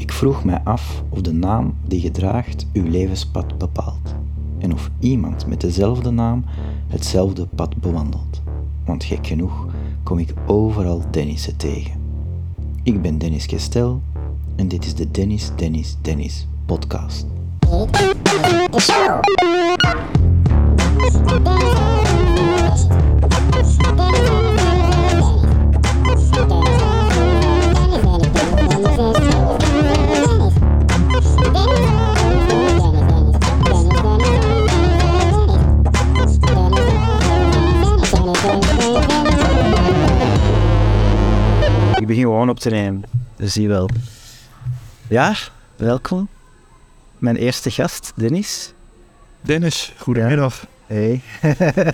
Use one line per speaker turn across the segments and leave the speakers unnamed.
vroeg mij af of de naam die je draagt uw levenspad bepaalt. En of iemand met dezelfde naam hetzelfde pad bewandelt. Want gek genoeg kom ik overal Dennissen tegen. Ik ben Dennis Kestel en dit is de Dennis, Dennis, Dennis podcast. Ik begin gewoon op te nemen, dus zie wel. Ja, welkom. Mijn eerste gast, Dennis.
Dennis, goedemiddag.
Hey.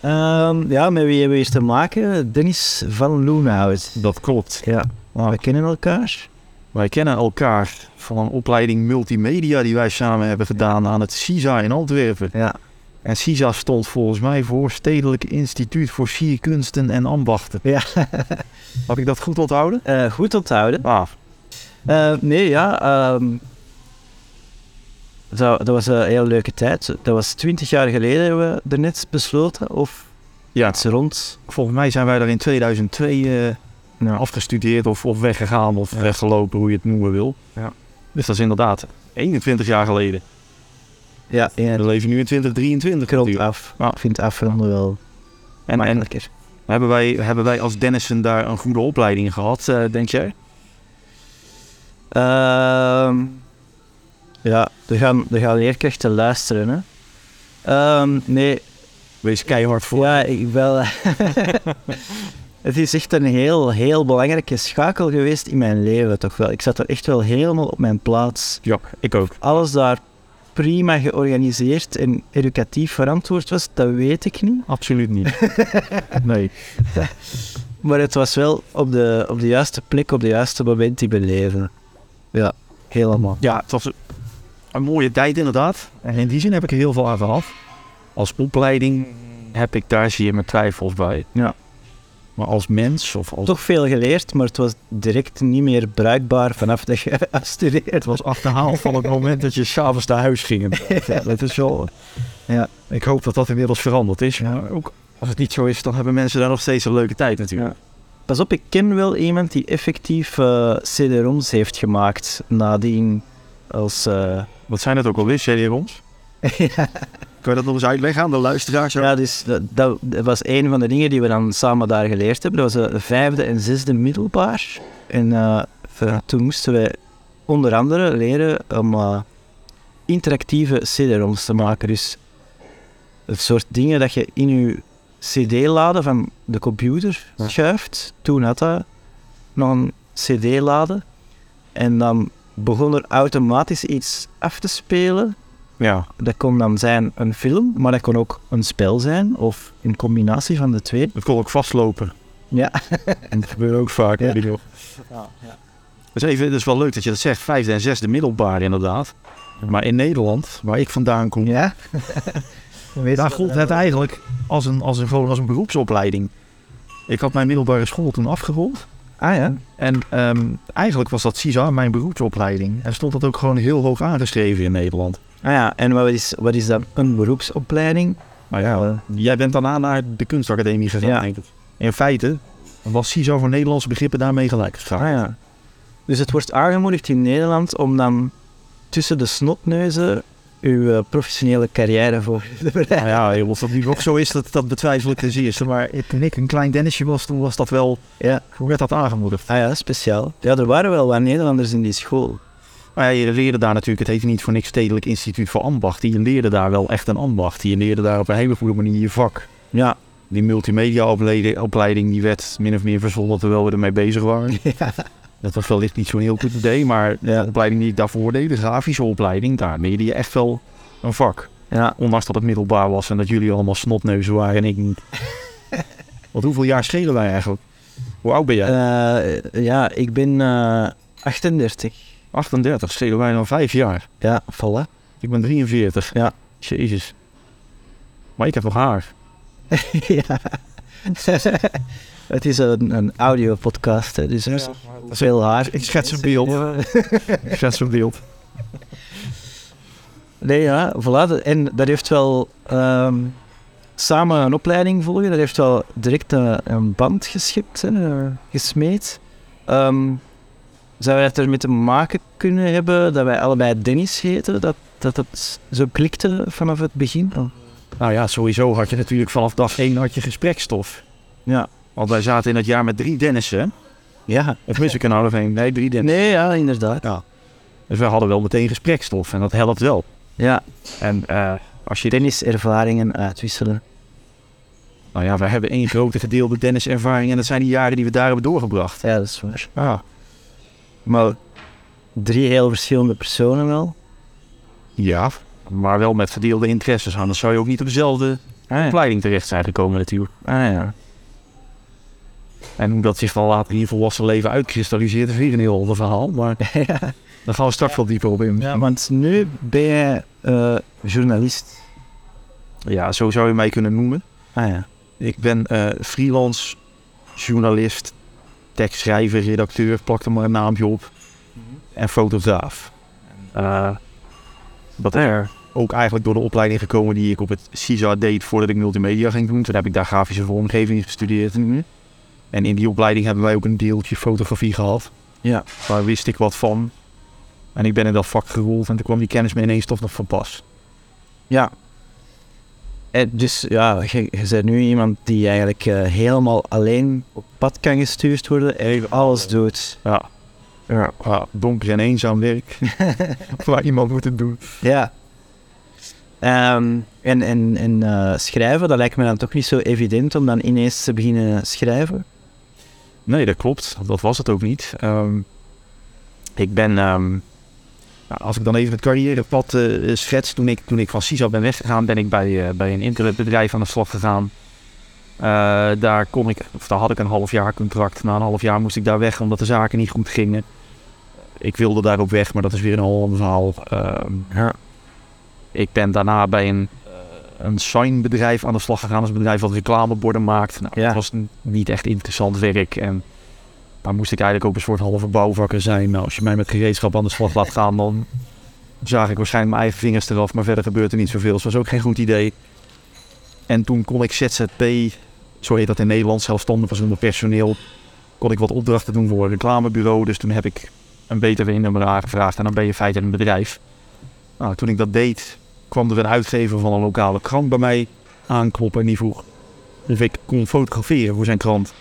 Ehm, ja, met wie hebben we hier te maken? Dennis van Loenhout.
Dat klopt.
Ja, maar we kennen elkaar.
Wij kennen elkaar van een opleiding multimedia die wij samen hebben gedaan aan het CISA in Antwerpen.
Ja,
En CISA stond volgens mij voor Stedelijk Instituut voor Sierkunsten en Ambachten.
ja.
Heb ik dat goed onthouden?
Eh, goed onthouden.
Ah,
Eh, nee, ja. ehm, zo, dat was een heel leuke tijd. Dat was twintig jaar geleden hebben we er net besloten. Of
Ja.
iets rond.
volgens mij zijn wij daar in 2002 eh,
Ja.
afgestudeerd of, of weggegaan of
Ja.
weggelopen, hoe je het noemen wil.
Ja.
Dus dat is inderdaad 21 jaar geleden.
Ja, en
We leven nu in 2023
rond
natuurlijk.
af.
Ja.
Ik vind afronden wel
En, en
makkelijker.
hebben, wij, hebben wij als Dennissen daar een goede opleiding gehad, eh, denk jij?
Ehm, ja, er gaan, er gaan leerkrachten luisteren. Hè. Ehm, nee,
Wees keihard voor.
Ja, ik wel. het is echt een heel, heel belangrijke schakel geweest in mijn leven, toch wel. Ik zat er echt wel helemaal op mijn plaats.
Ja, ik ook.
Alles daar prima georganiseerd en educatief verantwoord was, dat weet ik niet.
Absoluut niet. nee.
Maar het was wel op de, op de juiste plek, op de juiste moment in mijn leven. Ja, helemaal.
Ja, het was een, een mooie tijd inderdaad. En in die zin heb ik er heel veel aan gehad. Als opleiding heb ik daar zie je mijn twijfels bij.
Ja.
Maar als mens of als...
Toch veel geleerd, maar het was direct niet meer bruikbaar vanaf dat je afstudeert.
was achterhaald van het moment dat je s'avonds naar huis ging. Ja, dat is wel...
Ja.
Ik hoop dat dat inmiddels veranderd is. Maar ook als het niet zo is, dan hebben mensen daar nog steeds een leuke tijd natuurlijk.
Pas op, ik ken wel iemand die effectief eh, CD-ROMs heeft gemaakt nadien als... eh,
Wat zijn het ook alweer, CD-ROMs?
ja,
Kun je dat nog eens uitleggen aan de luisteraars?
dus dat, dat, dat was een van de dingen die we dan samen daar geleerd hebben. Dat was de vijfde en zesde middelbaar. En eh, ver- toen moesten wij onder andere leren om eh, interactieve CD-ROMs te maken. Dus het soort dingen dat je in je CD-laden van de computer
Ja.
schuift. Toen had dat nog een CD-laden. En dan begon er automatisch iets af te spelen.
Ja.
Dat kon dan zijn een film, maar dat kon ook een spel zijn of een combinatie van de twee.
Het kon ook vastlopen.
Ja.
En dat gebeurt ook vaak,
Ja.
weet ik nog. Dus even, het is wel leuk dat je dat zegt. Vijfde en zesde middelbaar inderdaad. Maar in Nederland, waar ik vandaan kom,
Ja? Weet
daar gold het eigenlijk als een, als, een, gewoon als een beroepsopleiding. Ik had mijn middelbare school toen afgerond.
Ah ja?
En ehm, eigenlijk was dat CISA mijn beroepsopleiding. En stond dat ook gewoon heel hoog aangeschreven in Nederland.
Ah ja, en wat is, wat is dan een beroepsopleiding?
Maar ja, jij bent daarna naar de kunstacademie gegaan.
Ja.
denk ik. In feite was CISA voor Nederlandse begrippen daarmee gelijk gegaan.
Ah ja. Dus het wordt aangemoedigd in Nederland om dan tussen de snotneuzen uw eh, professionele carrière voor te bereiden.
Nou ja, joh, of dat nu ook zo is, dat, dat betwijfel ik ten zeerste. Maar toen ik een klein Dennisje was, toen was dat wel...
Ja.
Hoe werd dat aangemoedigd?
Ah ja, speciaal. Ja, er waren wel wat Nederlanders in die school.
Maar Nou ja, je leerde daar natuurlijk, het heette niet voor niks Stedelijk Instituut voor Ambacht. Je leerde daar wel echt een ambacht. Je leerde daar op een hele goede manier je vak.
Ja.
Die multimedia-opleiding opleiding, die werd min of meer verzonnen terwijl we ermee bezig waren. Dat was wellicht niet zo'n heel goed idee, maar de
Ja.
opleiding die ik daarvoor deed, de grafische opleiding, daar leerde je echt wel een vak.
Ja.
Ondanks dat het middelbaar was en dat jullie allemaal snotneuzen waren en ik niet. Want hoeveel jaar schelen wij eigenlijk? Hoe oud ben jij?
Eh, ja, ik ben eh, 38.
38, schelen wij dan vijf jaar.
Ja, voilà.
Ik ben 43.
Ja.
Jezus. Maar ik heb nog haar.
ja. het is een, een audio-podcast, hè, dus er is veel haar.
Ik schets een beeld.
Ja.
Ik schets een beeld.
Nee, ja, voilà. En dat heeft wel ehm, samen een opleiding volgen, dat heeft wel direct een, een band geschipt, hè, eh, gesmeed. Ehm, zou het ermee te maken kunnen hebben dat wij allebei Dennis heten? Dat dat het zo klikte vanaf het begin?
Nou ja, sowieso had je natuurlijk vanaf dag 1 had je gesprekstof.
Ja.
Want wij zaten in het jaar met drie Dennissen. hè?
Ja.
Of mis ik er nou of één? Nee, drie Dennissen.
Nee, ja, inderdaad.
Dus we hadden wel meteen gesprekstof en dat helpt wel.
Ja,
En eh, als je
Dennis ervaringen uitwisselen.
Nou ja, wij hebben één grote gedeelde Dennis-ervaring en dat zijn die jaren die we daar hebben doorgebracht.
Ja, dat is waar.
Ah,
Maar drie heel verschillende personen wel.
ja. Maar wel met verdeelde interesses, anders zou je ook niet op dezelfde
Ah
opleiding terecht zijn gekomen natuurlijk.
Ah, ja.
En hoe dat zich dan later in je volwassen leven uitkristalliseert, is weer een heel ander verhaal. Maar daar gaan we straks wel dieper op in.
Ja, want nu ben jij eh, journalist.
Ja, zo zou je mij kunnen noemen.
Ah ja.
Ik ben eh, freelance journalist, tekstschrijver, redacteur, plak er maar een naamje op.
Mhm.
En fotograaf. Eh, Wat er? Ook eigenlijk door de opleiding gekomen die ik op het CISA deed voordat ik multimedia ging doen. Toen heb ik daar grafische vormgeving gestudeerd.
Mhm.
En in die opleiding hebben wij ook een deeltje fotografie gehad.
Ja.
Daar wist ik wat van. En ik ben in dat vak gerold en toen kwam die kennis me ineens toch nog van pas.
Ja. En dus ja, je, je bent nu iemand die eigenlijk eh, helemaal alleen op pad kan gestuurd worden en je alles doet.
Ja.
Ja.
Ja, Ah, donker en eenzaam werk. Waar iemand moet het doen.
Ja. Ehm, en en, en eh, schrijven, dat lijkt me dan toch niet zo evident om dan ineens te beginnen schrijven.
Nee, dat klopt. Dat was het ook niet. Ehm, ik ben, ehm, nou, als ik dan even het carrièrepad eh, schets, toen ik, toen ik van CISA ben weggegaan, ben ik bij, eh, bij een internetbedrijf aan de slag gegaan. Eh, daar, kon ik, of daar had ik een half jaar contract. Na een half jaar moest ik daar weg omdat de zaken niet goed gingen. Ik wilde daarop weg, maar dat is weer een heel ander verhaal. Ehm, ik ben daarna bij een, eh, een signbedrijf aan de slag gegaan. Dat is een bedrijf dat reclameborden maakt. Nou,
Ja.
Dat was n- niet echt interessant werk. En daar moest ik eigenlijk ook een soort halve bouwvakker zijn. Nou, als je mij met gereedschap aan de slag laat gaan, dan zag ik waarschijnlijk mijn eigen vingers eraf. Maar verder gebeurt er niet zoveel. Dus dat was ook geen goed idee. En toen kon ik ZZP, zo heet dat in Nederland, zelfstandig was onder personeel, kon ik wat opdrachten doen voor een reclamebureau. Dus toen heb ik een btw-nummer aangevraagd en dan ben je feitelijk een bedrijf. Nou, toen ik dat deed, kwam er een uitgever van een lokale krant bij mij aankloppen en die vroeg of ik kon fotograferen voor zijn krant.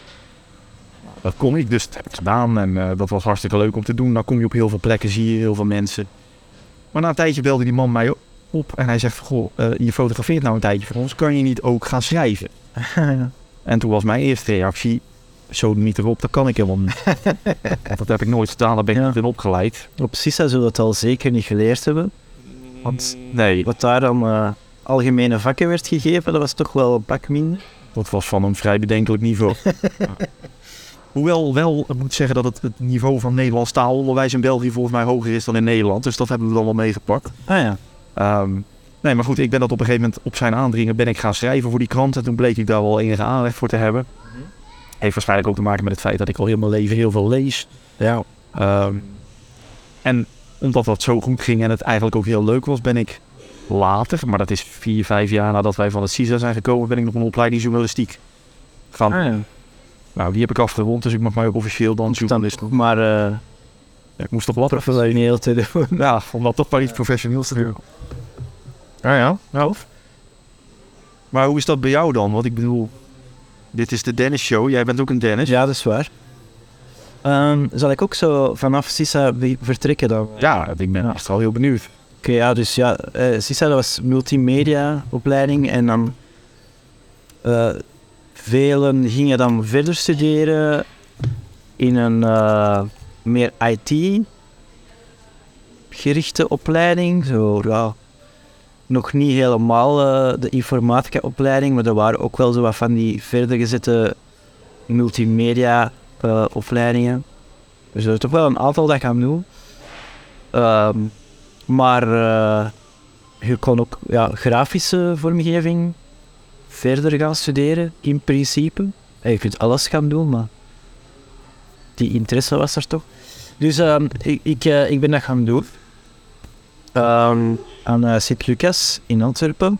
Nou, Dat kon ik, dus dat heb ik gedaan en eh, dat was hartstikke leuk om te doen. Dan kom je op heel veel plekken, zie je heel veel mensen. Maar na een tijdje belde die man mij op en hij zegt, goh, eh, je fotografeert nou een tijdje voor ons, kan je niet ook gaan schrijven? En toen was mijn eerste reactie, zo niet erop, dat kan ik helemaal niet. Want dat heb ik nooit gedaan, daar ben ik
Ja.
niet in opgeleid.
Op CISA zullen we dat al zeker niet geleerd hebben.
Want nee,
Wat daar dan eh, algemene vakken werd gegeven, dat was toch wel een pak minder.
Dat was van een vrij bedenkelijk niveau. Ja. Hoewel wel, ik moet zeggen dat het, het niveau van Nederlands taalonderwijs in België volgens mij hoger is dan in Nederland. Dus dat hebben we dan wel meegepakt.
Ah ja.
Ehm, nee, maar goed, ik ben dat op een gegeven moment op zijn aandringen ben ik gaan schrijven voor die krant. En toen bleek ik daar wel enige aanleg voor te hebben.
Mhm.
Heeft waarschijnlijk ook te maken met het feit dat ik al heel mijn leven heel veel lees.
Ja.
Ehm, en omdat dat zo goed ging en het eigenlijk ook heel leuk was, ben ik later, maar dat is vier, vijf jaar nadat wij van het CISA zijn gekomen, ben ik nog een opleiding journalistiek gaan
Ah, ja.
nou, die heb ik afgerond, dus ik mag mij ook officieel dan
Dan is
journalist
het
noemen.
maar eh
Ja, ik moest toch wat
professioneel te doen.
Ja, om dat toch maar iets professioneels te doen. Ja, ja. Nou. Maar hoe is dat bij jou dan? Want ik bedoel, dit is de Dennis Show. Jij bent ook een Dennis.
Ja, dat is waar. Ehm, zal ik ook zo vanaf Sisa be- vertrekken dan? Oké,
Ja, ik ben
Ja.
echt al heel benieuwd.
ja, dus ja, eh, Sisa dat was multimedia opleiding en dan eh, velen gingen dan verder studeren in een eh, meer IT gerichte opleiding. Zo, ja, nog niet helemaal eh, de informatica opleiding, maar er waren ook wel zo wat van die verder gezette multimedia eh, opleidingen. Dus er is toch wel een aantal dat gaan doen. Ehm, maar eh, je kon ook ja, grafische vormgeving, verder gaan studeren, in principe. En je kunt alles gaan doen, maar die interesse was er toch. Dus ehm, ik, ik, eh, ik ben dat gaan doen. Ehm, aan eh, Sint-Lucas in Antwerpen.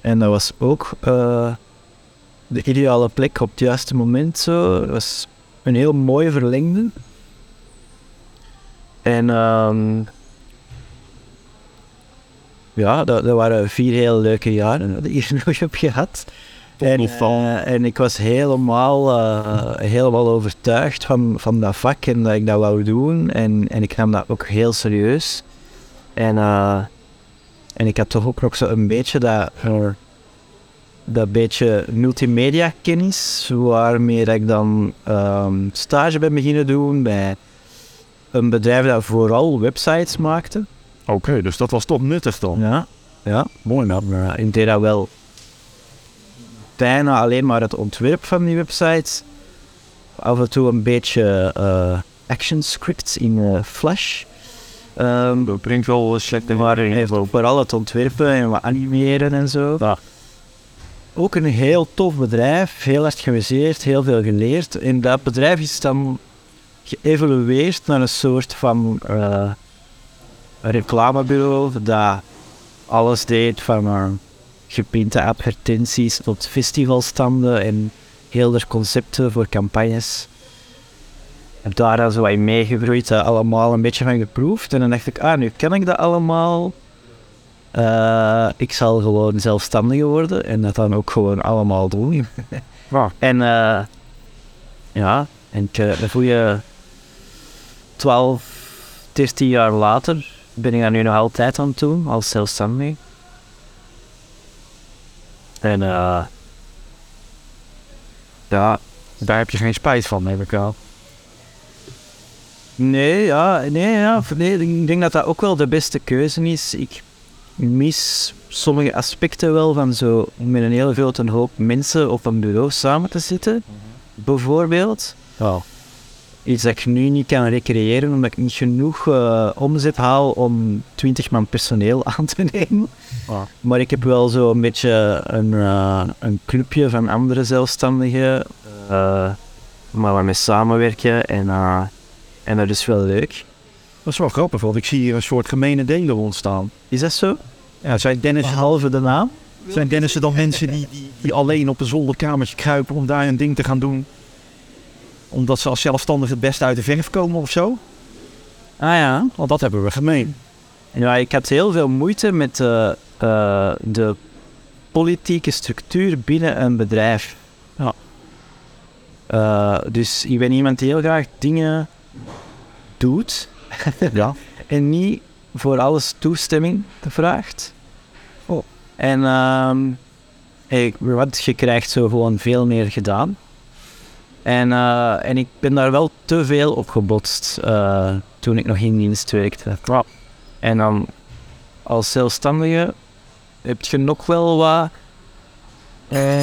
En dat was ook eh, de ideale plek op het juiste moment. Zo. Dat was een heel mooie verlengde. En ehm, ja, dat, dat waren vier heel leuke jaren dat ik hier nog heb gehad. En,
nog van.
eh, en ik was helemaal, eh, helemaal overtuigd van, van dat vak en dat ik dat wou doen. En, en ik nam dat ook heel serieus. En, eh, en ik had toch ook nog zo een beetje dat, dat beetje multimedia kennis, waarmee dat ik dan ehm, stage ben beginnen doen bij een bedrijf dat vooral websites maakte.
Oké, dus dat was toch nuttig dan.
Ja. ja.
Mooi man.
Maar ik deed dat wel bijna alleen maar het ontwerp van die websites. Af en toe een beetje eh, action scripts in eh, Flash. Ehm,
Dat brengt wel eh, slechte
maar eh, hij heeft ook vooral het ontwerpen en wat animeren en zo.
Ja.
Ook een heel tof bedrijf, heel hard gemuseerd, heel veel geleerd. En dat bedrijf is dan geëvolueerd naar een soort van eh, een reclamebureau dat alles deed van eh, geprinte advertenties tot festivalstanden en heel de concepten voor campagnes. Ik heb daar dan zo wat in meegegroeid, dat allemaal een beetje van geproefd. En dan dacht ik, ah, nu ken ik dat allemaal. Eh, ik zal gewoon zelfstandig worden en dat dan ook gewoon allemaal doen.
Waar?
En eh, ja, en ik, eh, een goede 12, 13 jaar later ben ik dat nu nog altijd aan het doen, als zelfstandig. En eh, ja,
Daar heb je geen spijt van, heb ik al.
Nee, ja, nee, ja. v- Nee, ik denk dat dat ook wel de beste keuze is. Ik mis sommige aspecten wel van zo met een heel grote hoop mensen op een bureau samen te zitten, bijvoorbeeld.
Ja.
Iets dat ik nu niet kan recreëren omdat ik niet genoeg eh, omzet haal om 20 man personeel aan te nemen.
Ja.
Maar ik heb wel zo een beetje een, eh, een clubje van andere zelfstandigen. eh, maar waarmee samenwerken en, eh, en dat is wel leuk.
Dat is wel grappig, want ik zie hier een soort gemene deler ontstaan.
Is dat zo?
Ja, zijn Dennis,
Behalve de naam?
zijn Dennis er dan mensen die, die, die alleen op een zolderkamertje kruipen om daar een ding te gaan doen? Omdat ze als zelfstandig het beste uit de verf komen of zo?
Ah ja.
Want dat hebben we gemeen.
ja ik had heel veel moeite met eh, eh, de politieke structuur binnen een bedrijf.
Ja.
Eh, dus ik ben iemand die heel graag dingen doet
Ja.
en niet voor alles toestemming vraagt.
Oh.
En ehm, ik, wat je krijgt zo gewoon veel meer gedaan. En, eh, en ik ben daar wel te veel op gebotst eh, toen ik nog in dienst werkte.
Ja.
En dan als zelfstandige heb je nog wel wat eh,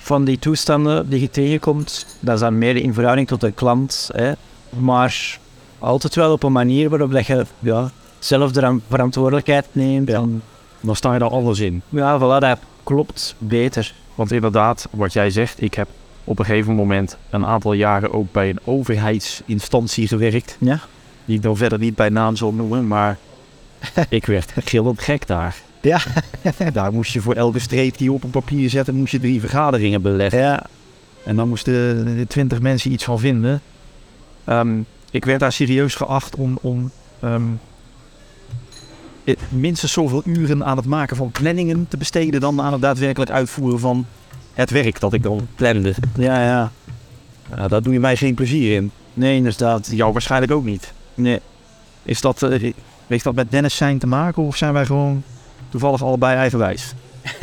van die toestanden die je tegenkomt. Dat is dan meer in verhouding tot de klant. Hè. Maar altijd wel op een manier waarop dat je ja, zelf de ram- verantwoordelijkheid neemt.
Ja.
En,
Dan sta je daar alles in.
ja, voilà, dat klopt beter.
Want inderdaad, wat jij zegt, ik heb op een gegeven moment een aantal jaren ook bij een overheidsinstantie gewerkt.
Ja.
Die ik dan verder niet bij naam zal noemen, maar ik werd gillend gek daar.
Ja.
daar moest je voor elke streep die je op een papier zette, moest je drie vergaderingen beleggen.
Ja,
En dan moesten twintig mensen iets van vinden. Ehm, ik werd daar serieus geacht om, om ehm, eh, minstens zoveel uren aan het maken van planningen te besteden dan aan het daadwerkelijk uitvoeren van het werk dat ik dan plande.
ja, ja.
Nou, daar doe je mij geen plezier in.
Nee, inderdaad.
Jou waarschijnlijk ook niet.
Nee.
Is dat, eh, heeft dat met Dennis zijn te maken of zijn wij gewoon toevallig allebei eigenwijs?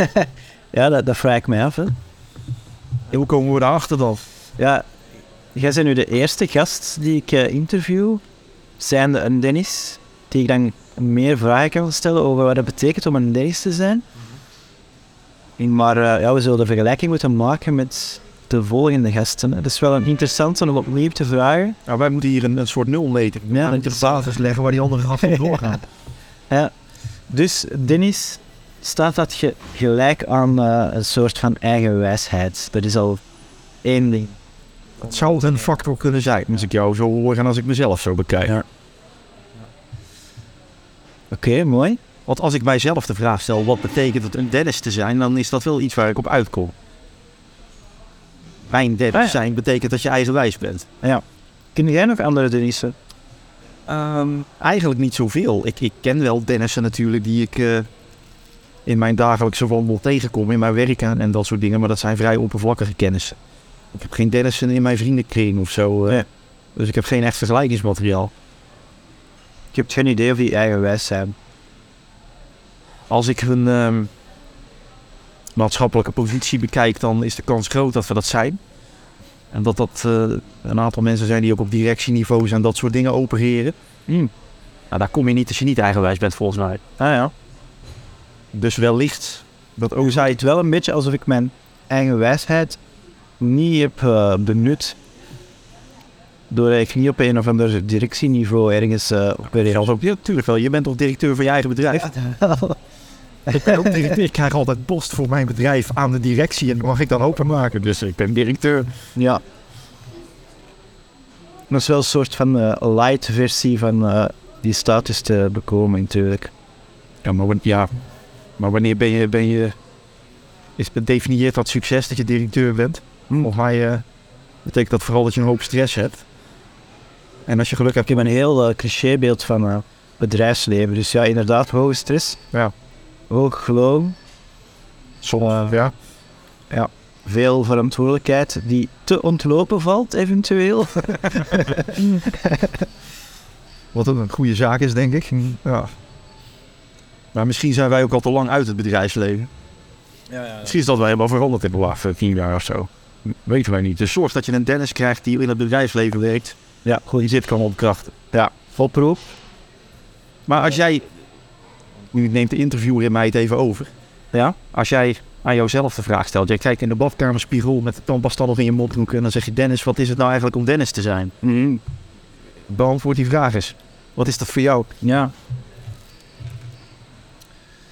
Ja, dat, dat vraag ik mij af. Hè.
Hoe komen we daarachter dan?
Ja, jij bent nu de eerste gast die ik eh, interview, zijnde een Dennis, die ik dan meer vragen kan stellen over wat het betekent om een Dennis te zijn. Maar eh, ja, we zullen de vergelijking moeten maken met de volgende gasten. Het is wel een interessante om opnieuw te vragen.
Nou, wij moeten hier een, een soort nulmeter
Ja,
aan de basis leggen waar die andere gasten doorgaan.
Dus Dennis, staat dat ge- gelijk aan eh, een soort van eigen wijsheid. Dat is al één ding.
Het zou een factor kunnen zijn, als ik jou zo hoor en als ik mezelf zo bekijk.
Oké, mooi.
Want als ik mijzelf de vraag stel, wat betekent het een Dennis te zijn, dan is dat wel iets waar ik op uitkom. Mijn Dennis
Ah, ja.
zijn betekent dat je eigenwijs bent.
Ken jij nog andere Denissen?
Eigenlijk niet zoveel. Ik, ik ken wel Dennissen natuurlijk die ik eh, in mijn dagelijkse wandel tegenkom, in mijn werk en, en dat soort dingen. Maar dat zijn vrij oppervlakkige kennissen. Ik heb geen Dennissen in mijn vriendenkring of zo. eh.
Nee.
Dus ik heb geen echt vergelijkingsmateriaal.
Je hebt geen idee of die eigen wijs zijn.
Als ik hun ehm, maatschappelijke positie bekijk, dan is de kans groot dat we dat zijn. En dat dat eh, een aantal mensen zijn die ook op directieniveaus en dat soort dingen opereren.
Hmm.
Nou, daar kom je niet als je niet eigenwijs bent, volgens mij.
Ah ja.
Dus wellicht dat ook
Hoe zei
zij
het wel een beetje alsof ik mijn eigen wijsheid niet heb eh, benut. Doordat ik niet op een of ander directieniveau ergens eh opereer.
Zelfs ook, ja, natuurlijk wel. Je bent toch directeur van je eigen bedrijf? Ik ben ook directeur. Ik krijg altijd post voor mijn bedrijf aan de directie en mag ik dan openmaken. Dus ik ben directeur.
Ja. Dat is wel een soort van eh, light versie van eh, die status te bekomen natuurlijk.
Ja, maar, wan- ja. maar wanneer ben je, ben je... Is, definieert dat succes dat je directeur bent?
Hm.
Volgens mij eh, betekent dat vooral dat je een hoop stress hebt. En als je geluk
Ik
hebt...
heb een heel eh, clichébeeld van eh, bedrijfsleven. Dus ja, inderdaad, hoge stress.
Ja.
Hoog Eh, loon.
Soms, ja.
Veel verantwoordelijkheid die te ontlopen valt eventueel.
Wat ook een goede zaak is, denk ik. Ja. Maar misschien zijn wij ook al te lang uit het bedrijfsleven. Misschien is dat wel helemaal veranderd in de laatste tien jaar of zo. Weten wij niet. Dus zorg dat je een Dennis krijgt die in het bedrijfsleven werkt.
Ja,
Goed, die zit kan ontkrachten.
Volproep.
Maar als jij... Nu neemt de interviewer in mij het even over.
Ja.
Als jij aan jouzelf de vraag stelt. Jij kijkt in de badkamerspiegel met de tandpasta nog in je mondhoek. En dan zeg je Dennis, wat is het nou eigenlijk om Dennis te zijn? Beantwoord die vraag eens. Wat is dat voor jou?
Ja.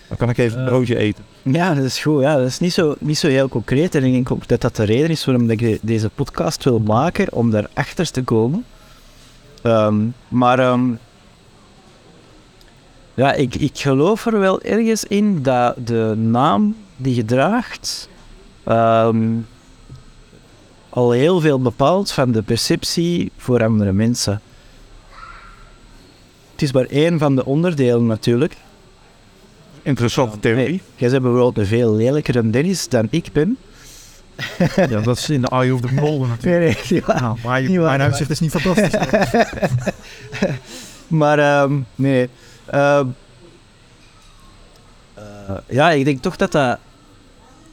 Dan kan ik even een
Eh.
broodje eten.
ja, dat is goed. Ja. Dat is niet zo, niet zo heel concreet. En ik denk ook dat dat de reden is waarom ik de- deze podcast wil maken. Om daarachter te komen. Ehm, maar ehm, ja, ik, ik geloof er wel ergens in dat de naam die je draagt ehm, al heel veel bepaalt van de perceptie voor andere mensen. Het is maar één van de onderdelen natuurlijk.
Interessante theorie.
Jij bent bijvoorbeeld een veel lelijkere Dennis dan ik ben.
Ja, dat is in de eye of the beholder natuurlijk.
Nee, nee, niet waar.
Nou, maar
Niet waar. mijn uitzicht
is niet fantastisch.
Maar ehm, nee. ehm, eh, ja, ik denk toch dat dat...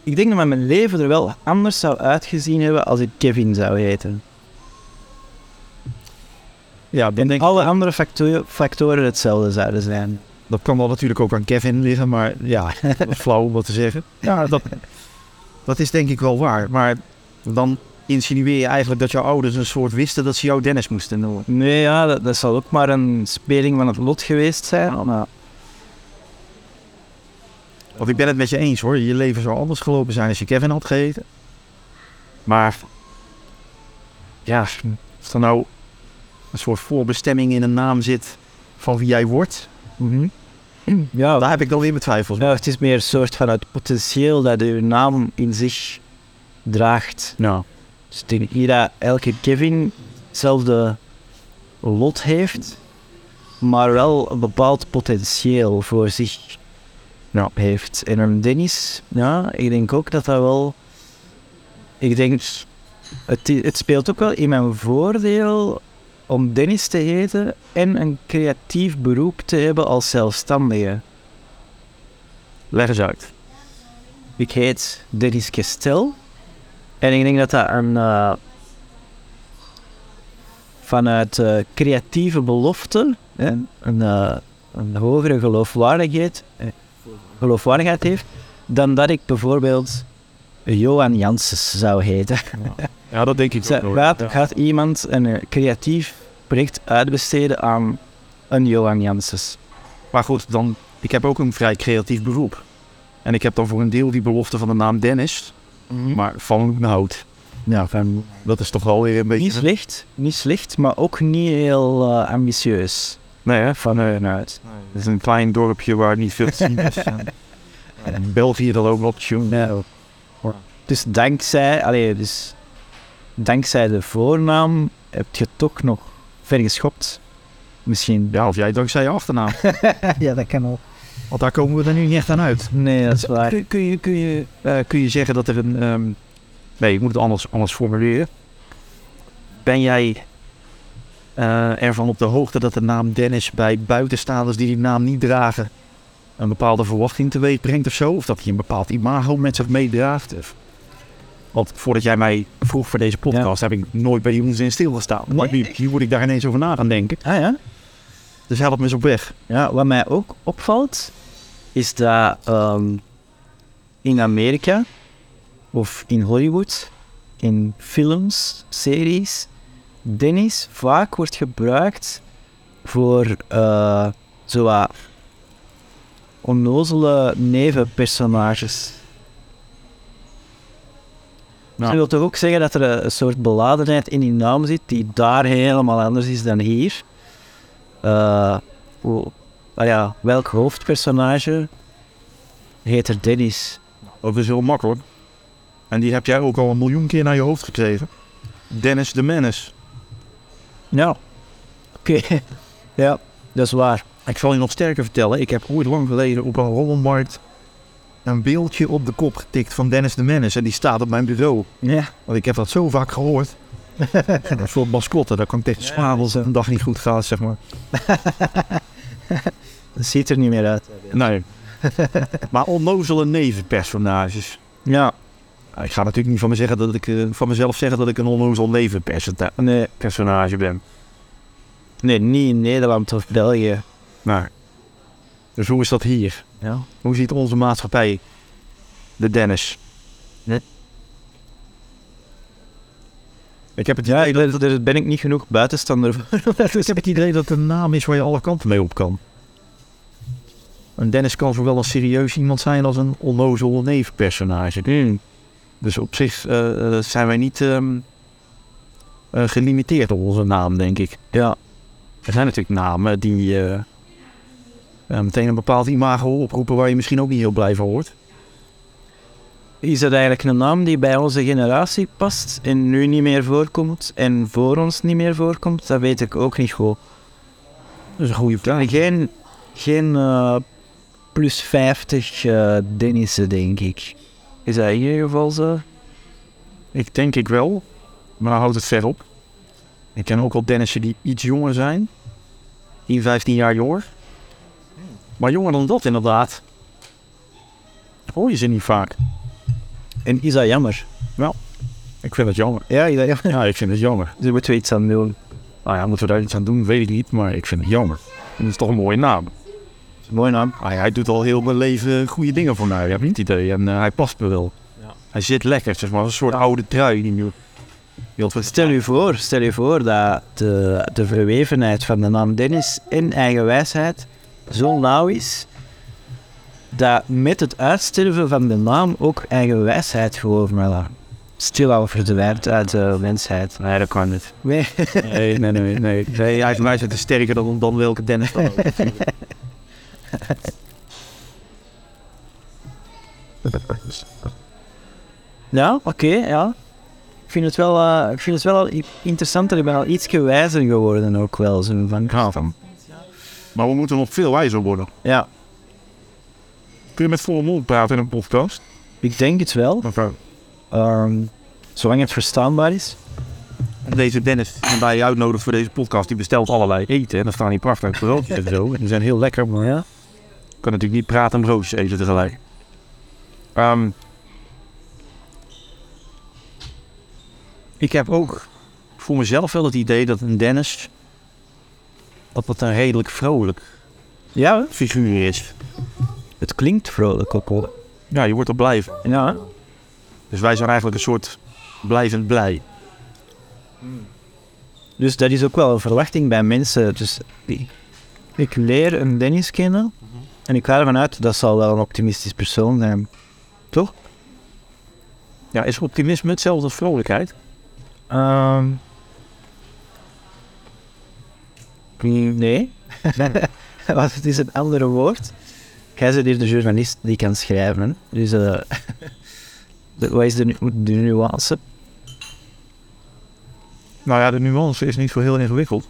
Ik denk dat mijn leven er wel anders zou uitgezien hebben als ik Kevin zou heten.
ja, dan denk ik-
Alle andere facto- factoren hetzelfde zouden zijn.
Dat kan wel natuurlijk ook aan Kevin liggen, maar ja, dat is flauw om wat te zeggen. Ja, dat, dat is denk ik wel waar. Maar dan insinueer je eigenlijk dat jouw ouders een soort wisten dat ze jou Dennis moesten noemen.
Nee, ja, dat, dat zal ook maar een speling van het lot geweest zijn. Maar
Want ik ben het met je eens hoor, je leven zou anders gelopen zijn als je Kevin had gegeten. Maar ja, als er nou een soort voorbestemming in een naam zit van wie jij wordt,
ja,
daar heb ik dan weer mijn twijfels.
Ja, Nou, het is meer een soort van het potentieel dat uw naam in zich draagt.
Nou,
Dus ik denk niet dat elke Kevin hetzelfde lot heeft, maar wel een bepaald potentieel voor zich
Ja.
heeft. En een Dennis, ja, ik denk ook dat dat wel... Ik denk, het, i- het speelt ook wel in mijn voordeel om Dennis te heten en een creatief beroep te hebben als zelfstandige.
leg eens uit.
Ik heet Dennis Kestel. En ik denk dat dat een. eh, vanuit eh, creatieve belofte. Hè, een, eh, een hogere geloofwaardigheid, eh, geloofwaardigheid heeft. dan dat ik bijvoorbeeld. Johan Janssens zou heten.
Ja, dat denk ik
Zij- Gaat, gaat iemand een eh, creatief project uitbesteden aan een Johan Janssens?
Maar goed, dan, ik heb ook een vrij creatief beroep. En ik heb dan voor een deel die belofte van de naam Dennis, maar van Hout.
ja, van,
Dat is toch alweer een
niet
beetje...
slecht, niet slecht, maar ook niet heel eh, ambitieus
Nee, hè?
van hun uit.
Het is een klein dorpje waar niet veel te zien is. En België dat ook nog.
Nou. Dus dankzij, allee, dus dankzij de voornaam heb je toch nog ver geschopt. Misschien.
Ja, of jij dankzij je achternaam.
ja, dat kan ook.
Want daar komen we er nu niet echt aan uit.
Nee, dat is waar.
Kun, kun je, kun, je, eh, kun je zeggen dat er een... ehm, Nee, ik moet het anders, anders formuleren. Ben jij eh, ervan op de hoogte dat de naam Dennis bij buitenstaanders die die naam niet dragen... een bepaalde verwachting teweeg brengt of zo? Of dat hij een bepaald imago met zich meedraagt? Of- Want voordat jij mij vroeg voor deze podcast heb ik nooit bij die onzin stilgestaan. Maar
Nee.
nu, nu moet ik daar ineens over na gaan denken.
Ah ja?
Dus help me eens op weg.
Ja, wat mij ook opvalt, is dat ehm, in Amerika of in Hollywood, in films, series, Dennis vaak wordt gebruikt voor eh zo wat onnozele nevenpersonages.
Ja.
Dat wil toch ook zeggen dat er een- een soort beladenheid in die naam zit die daar helemaal anders is dan hier. Eh, hoe- ah ja, welk hoofdpersonage heet er Dennis?
Dat is heel makkelijk. En die heb jij ook al een miljoen keer naar je hoofd gekregen. Dennis de Menace.
Nou, oké. ja, dat is waar.
Ik zal je nog sterker vertellen. Ik heb ooit lang geleden op een rommelmarkt een beeldje op de kop getikt van Dennis de Menace. En die staat op mijn bureau.
Ja.
Want ik heb dat zo vaak gehoord. een soort mascotte. Daar kan ik tegen slapen als het een dag niet goed gaat, zeg maar.
Dat ziet er niet meer uit.
Nee. maar onnozele nevenpersonages. Ah,
Ja,
Ik ga natuurlijk niet van, me zeggen dat ik, eh, van mezelf zeggen dat ik een onnozel nevenpersonage
nee,
ben.
nee, niet in Nederland of België.
Maar. Dus hoe is dat hier?
Ja.
Hoe ziet onze maatschappij de Dennis?
Nee.
Ik heb, het
Ja,
idee
ik-
dat,
daar daar ben ik niet genoeg buitenstander voor.
ik heb het idee dat het een naam is waar je alle kanten mee op kan. Een Dennis kan zowel een serieus iemand zijn als een onnozel neefpersonage. Dus op zich eh, eh, zijn wij niet ehm, eh, gelimiteerd op onze naam, denk ik.
Ja,
Er zijn natuurlijk namen die eh, eh, meteen een bepaald imago oproepen waar je misschien ook niet heel blij van wordt.
is dat eigenlijk een naam die bij onze generatie past en nu niet meer voorkomt en voor ons niet meer voorkomt? Dat weet ik ook niet goed.
Dat is een goede vraag.
Geen, geen eh, plus 50 eh Dennissen, denk ik. Is dat in ieder geval zo?
Ik denk ik wel, maar houdt het ver op. Ik ken ook al Dennissen die iets jonger zijn. 10, 15 jaar jonger. Maar jonger dan dat inderdaad. Hoor je ze niet vaak.
En is dat jammer?
Ik vind het jammer.
Ja, is dat jammer?
Ja, ik vind het jammer.
Daar moeten we iets aan doen.
Nou ja, moeten we daar iets aan doen, weet ik niet, maar ik vind het jammer. Het is toch een mooie naam. Ah,
Dat is een mooie naam.
Hij, hij doet al heel mijn leven goede dingen voor mij, heb je het idee. En eh, hij past me wel.
Ja.
Hij zit lekker, zeg maar. Een soort oude trui. Die nu...
Stel u voor, stel u voor dat de, de verwevenheid van de naam Dennis en eigenwijsheid zo nauw is dat met het uitsterven van de naam ook eigenwijsheid gewoon maar stilaan verdwijnt uit de mensheid.
Nee, dat kan niet.
Nee.
Nee, nee, nee. nee. nee hij, hij is sterker dan, dan welke Dennis dan ook.
Ja, oké, ja. Ik vind het wel, eh, ik vind het wel i- interessanter. Ik ben al iets wijzer geworden ook wel. Zo van,
hem. Maar we moeten nog veel wijzer worden.
ja,
Kun je met volle mond praten in een podcast?
ik denk het wel.
eh,
Ehm, zolang het verstaanbaar is.
Deze Dennis die wij uitnodigen voor deze podcast, die bestelt allerlei eten. En dan staan die prachtige broodjes en zo. En die zijn heel lekker, maar
Ja.
ik kan natuurlijk niet praten en broodjes eten tegelijk. Ehm, ik heb ook voor mezelf wel het idee dat een Dennis... dat dat een redelijk vrolijk
Ja, hè?
figuur is.
het klinkt vrolijk ook wel.
Ja, je wordt er blij van.
Ja, hè?
Dus wij zijn eigenlijk een soort blijvend blij.
Dus dat is ook wel een verwachting bij mensen. Dus ik- ik leer een Dennis kennen En ik ga ervan uit, dat zal wel een optimistisch persoon zijn.
Ja, is optimisme hetzelfde als vrolijkheid?
Ehm, nee. Want het is een andere woord. Jij bent hier de journalist die kan schrijven. Hè? Dus eh, de- wat is de, nu- de nuance?
Nou ja, de nuance is niet zo heel ingewikkeld.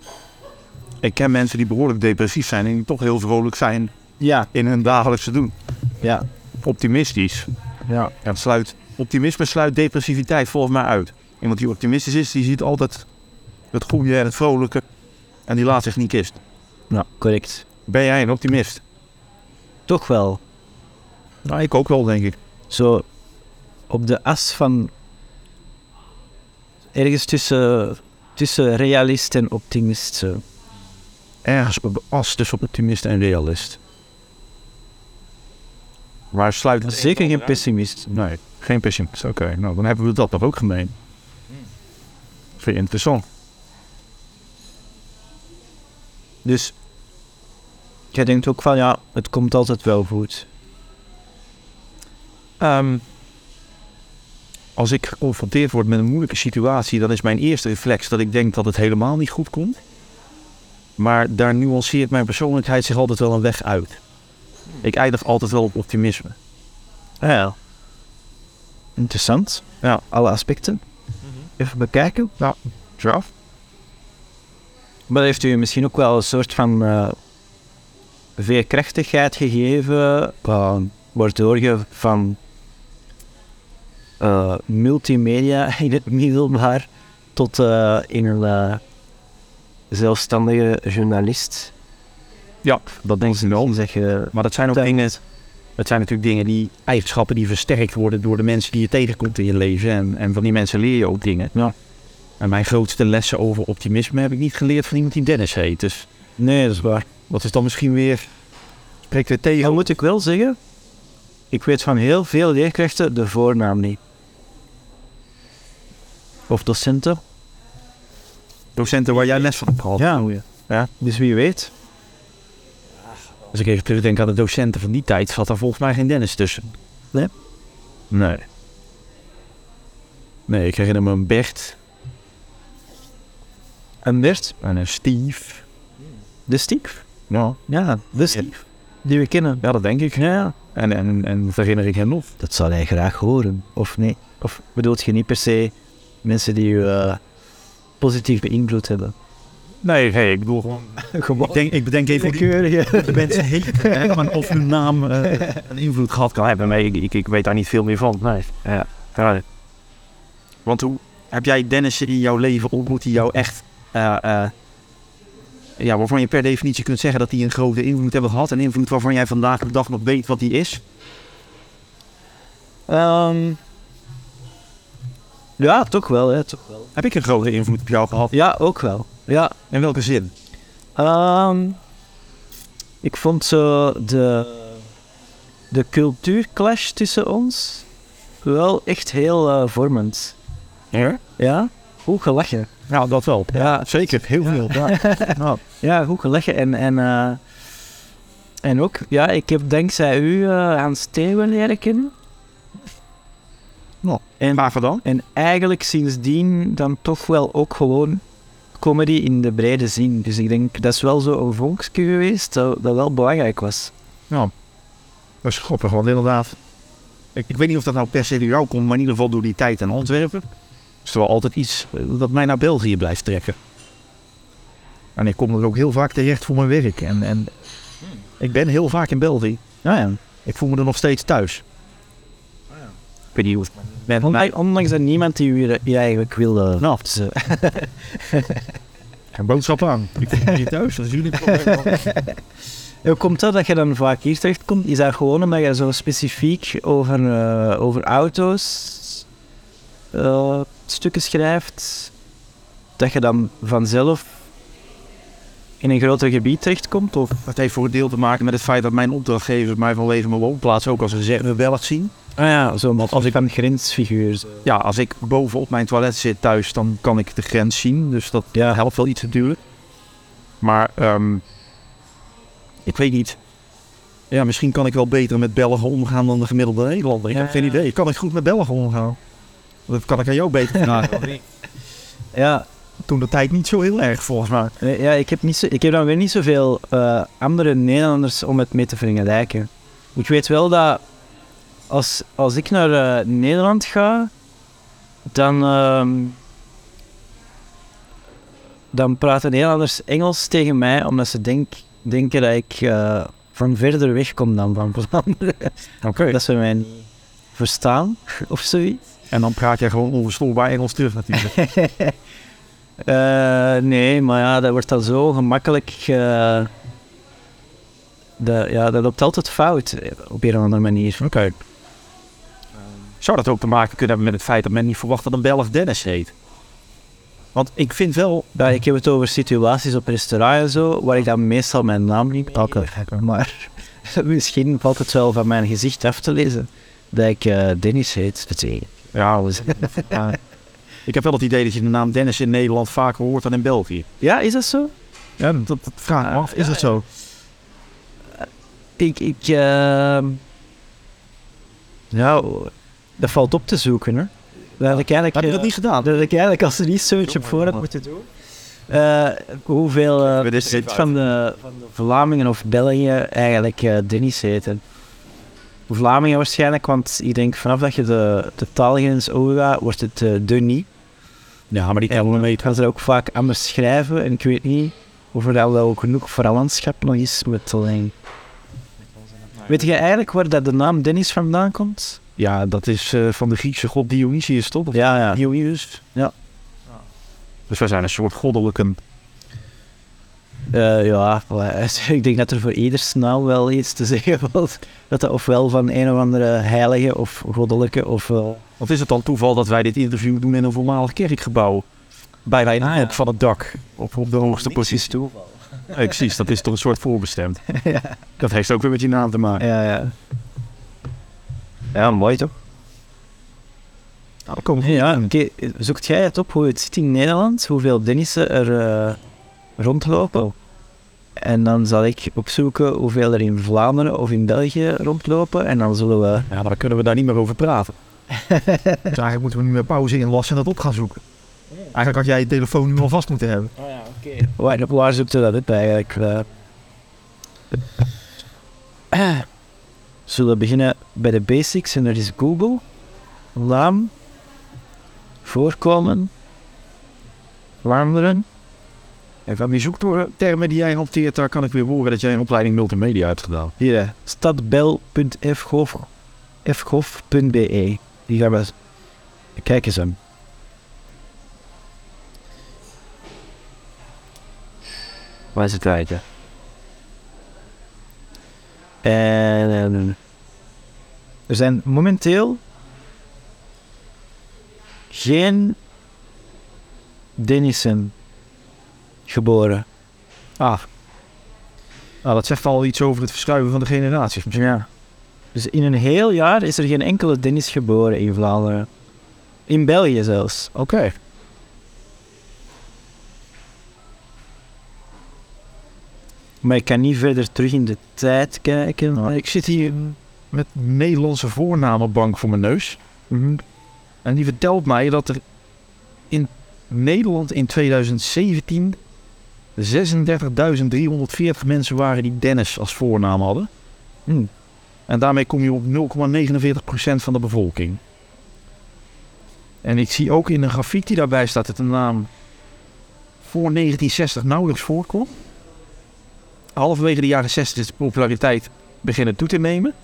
Ik ken mensen die behoorlijk depressief zijn en die toch heel vrolijk zijn
Ja,
in hun dagelijkse doen.
ja,
Optimistisch.
ja.
Ja, het sluit, optimisme sluit depressiviteit volgens mij uit. Iemand die optimistisch is, die ziet altijd het goede en het vrolijke. En die laat zich niet kist.
Nou, correct.
Ben jij een optimist?
Toch wel.
Nou, ik ook wel, denk ik.
Zo op de as van. Ergens tussen, tussen realist en optimist. Zo.
Ergens op de as tussen optimist en realist. Maar sluit het
Zeker geen pessimist.
Nee, geen pessimist. Oké, nou dan hebben we dat nog ook gemeen. Hmm. Vind je interessant?
Dus jij denkt ook van ja, het komt altijd wel goed.
Ehm, als ik geconfronteerd word met een moeilijke situatie, dan is mijn eerste reflex dat ik denk dat het helemaal niet goed komt. Maar daar nuanceert mijn persoonlijkheid zich altijd wel een weg uit. Ik eindig altijd wel op optimisme.
Ja. Interessant.
Ja.
Alle aspecten. Even bekijken.
Ja.
Maar heeft u misschien ook wel een soort van eh, veerkrachtigheid gegeven, eh, waardoor je van eh, multimedia in het middelbaar tot eh, in een eh, zelfstandige journalist.
Ja, dat denk ik wel.
Zeg je,
Maar dat zijn ook
Dat-
dingen. Het zijn natuurlijk dingen die eigenschappen die versterkt worden door de mensen die je tegenkomt in je leven. En, en van die mensen leer je ook dingen.
Ja.
En mijn grootste lessen over optimisme heb ik niet geleerd van iemand die Dennis heet. Dus
nee, dat is waar.
dat is dan misschien weer. Spreekt weer tegen.
Dan moet ik wel zeggen, ik weet van heel veel leerkrachten de voornaam niet. Of docenten.
Docenten waar jij les van hebt gehad.
Ja, hoe je.
Ja.
Dus wie weet.
Als ik even terugdenk aan de docenten van die tijd, zat daar volgens mij geen Dennis tussen.
Nee?
Nee. Nee, ik herinner me een Bert
En Bert,
en een Steve.
de stief.
Ja,
Ja, de stief. Die we kennen.
ja dat denk ik.
Ja,
En, en, en dat herinner ik hem nog.
dat zal hij graag horen, of nee? Of bedoelt je niet per se mensen die je eh, positief beïnvloed hebben?
Nee, hey, ik bedoel gewoon. Ik,
Gewoon.
denk, ik bedenk even hoe die-
Willekeurige.
de mensen heten. hè, maar Of hun naam eh, een invloed gehad kan hebben. Maar ik, ik, ik weet daar niet veel meer van. Nee. Ja. Ja. Want hoe heb jij Dennis in jouw leven ontmoet die jou echt. eh, eh, ja, waarvan je per definitie kunt zeggen dat die een grote invloed hebben gehad. Een invloed waarvan jij vandaag de dag nog weet wat die is.
Ehm, ja, toch wel, hè. Toch wel.
Heb ik een grote invloed op jou gehad?
Ja, ook wel. Ja,
In welke zin?
Ehm, ik vond zo de, de cultuurclash tussen ons wel echt heel eh, vormend.
Ja?
Ja? Goed gelachen.
Nou, dat wel.
Ja,
Zeker, heel veel. Nou,
ja goed gelachen. En, en, eh, en ook, ja, ik heb dankzij u eh, Hans Steeuwen leren kennen.
Nou,
en,
waarvoor dan?
en eigenlijk sindsdien dan toch wel ook gewoon comedy in de brede zin. Dus ik denk, dat is wel zo een vonkje geweest dat, dat wel belangrijk was.
Dat is grappig, want inderdaad. Ik, ik weet niet of dat nou per se door jou komt, maar in ieder geval door die tijd in Antwerpen. Is er wel altijd iets eh, dat mij naar België blijft trekken. En ik kom er ook heel vaak terecht voor mijn werk. En, en ik ben heel vaak in België.
Ja, ja.
Ik voel me er nog steeds thuis. Ik weet niet hoe het met mij-
Ondanks, ondanks dat niemand die u hier eigenlijk wilde.
Nou.
Dus, eh,
Geen boodschap aan. Ik voel me hier thuis, dat is jullie probleem.
hoe komt dat dat je dan vaak hier terechtkomt? Is dat gewoon omdat je zo specifiek over, eh, over auto's eh, stukken schrijft? Dat je dan vanzelf in een groter gebied terechtkomt? Of?
Dat heeft voor een deel te maken met het feit dat mijn opdrachtgevers mij vanwege mijn woonplaats ook als een zerre Belg zien.
Ah ja, zo, als ik van grensfiguur. zo.
Ja, als ik boven op mijn toilet zit thuis, dan kan ik de grens zien. Dus dat
Ja.
helpt wel iets natuurlijk. Maar ehm, ik weet niet. Ja, misschien kan ik wel beter met Belgen omgaan dan de gemiddelde Nederlander. Ik
Ja,
heb geen
ja.
idee. Kan ik goed met Belgen omgaan? Dat kan ik aan jou beter vragen.
Ja,
Toen de tijd niet zo heel erg, volgens mij.
nee, ja ik, heb niet zo, ik heb dan weer niet zoveel eh, andere Nederlanders om het mee te vergelijken. Ik weet wel dat als, als ik naar eh, Nederland ga, dan, ehm, dan praten Nederlanders Engels tegen mij omdat ze denk, denken dat ik eh, van verder weg kom dan van Vlaanderen.
Oké.
Dat ze mij niet verstaan of zoiets.
En dan praat jij gewoon onverstoorbaar Engels terug natuurlijk.
Eh, nee, maar ja, dat wordt dan zo gemakkelijk. eh, dat, ja, dat loopt altijd fout eh, op een of andere manier.
Oké. Zou dat ook te maken kunnen hebben met het feit dat men niet verwacht dat een Belg Dennis heet? Want ik vind wel...
Ja, ik heb het over situaties op restaurant en zo, waar ik dan meestal mijn naam niet pak. Maar misschien valt het wel van mijn gezicht af te lezen dat ik eh, Dennis heet. Dat is-
Ja, dat is- ja. ik heb wel het idee dat je de naam Dennis in Nederland vaker hoort dan in België.
Ja, is dat zo?
Ja, dat, dat vraag
me af. Is dat
zo?
Ik, ik, ehm, nou, dat valt op te zoeken, hè. Dat ik eigenlijk,
Heb je dat
eh,
niet gedaan?
Dat ik eigenlijk als research op voorhand moeten doen. Eh, hoeveel eh,
Dit is-
procent van de, van de Vlamingen of België eigenlijk eh Dennis heten. Vlamingen waarschijnlijk, want ik denk vanaf dat je de, de taalgrens overgaat, wordt het eh Denis.
Ja, maar die
En
tellen we mee.
dan gaan ze dat ook vaak anders schrijven en ik weet niet of er dat wel genoeg verwantschap nog is met eh, de lijn. Weet je eigenlijk waar dat de naam Dennis vandaan komt?
Ja, dat is eh, van de Griekse god Dionysius, toch? Of
Ja, ja.
Dionysius?
Ja.
Dus wij zijn een soort goddelijke...
Eh, ja, voilà. ik denk dat er voor ieder snel wel iets te zeggen was. Dat dat ofwel van een of andere heilige of goddelijke of... eh, wel
Wat is het dan toeval dat wij dit interview doen in een voormalig kerkgebouw? Bijna in
Ah, ja.
van het dak. Op, op de hoogste positie.
toeval.
Ja, precies, dat is toch een soort voorbestemd. Dat heeft ook weer met die naam te maken.
Ja, ja. Ja, mooi toch? Ja, oké. Zoekt jij het op hoe het zit in Nederland? Hoeveel Dennissen er eh,
Oh.
rondlopen? En dan zal ik opzoeken hoeveel er in Vlaanderen of in België rondlopen. En dan zullen we...
Ja, maar dan kunnen we daar niet meer over praten. dus eigenlijk moeten we nu met pauze inlassen en dat op gaan zoeken. Eigenlijk had jij je telefoon nu al vast moeten hebben.
Oh ja, oké. Waar, waar zoekt u dat op eigenlijk? Eh, Zullen we beginnen bij de basics en dat is Google, naam, voorkomen, Vlaanderen.
En van die zoektermen die jij hanteert, daar kan ik weer horen dat jij een opleiding multimedia hebt gedaan.
Hier, stadbel.fgof. fgof.be. E. Die gaan we. Kijk eens hem. Waar is het rijtje? En. Er zijn momenteel. geen. Dennissen geboren.
Ah. Nou, dat zegt al iets over het verschuiven van de generaties.
Ja. Dus in een heel jaar is er geen enkele Dennis geboren in Vlaanderen. In België zelfs.
Oké.
Maar ik kan niet verder terug in de tijd kijken.
Nou, ik zit hier met een Nederlandse voornamenbank voor mijn neus. En die vertelt mij dat er in Nederland in 2017 36.340 mensen waren die Dennis als voornaam hadden.
Hm.
En daarmee kom je op 0,49% van de bevolking. En ik zie ook in een grafiek die daarbij staat dat de naam voor 1960 nauwelijks voorkwam. Halverwege de jaren 60 is de populariteit beginnen toe te nemen.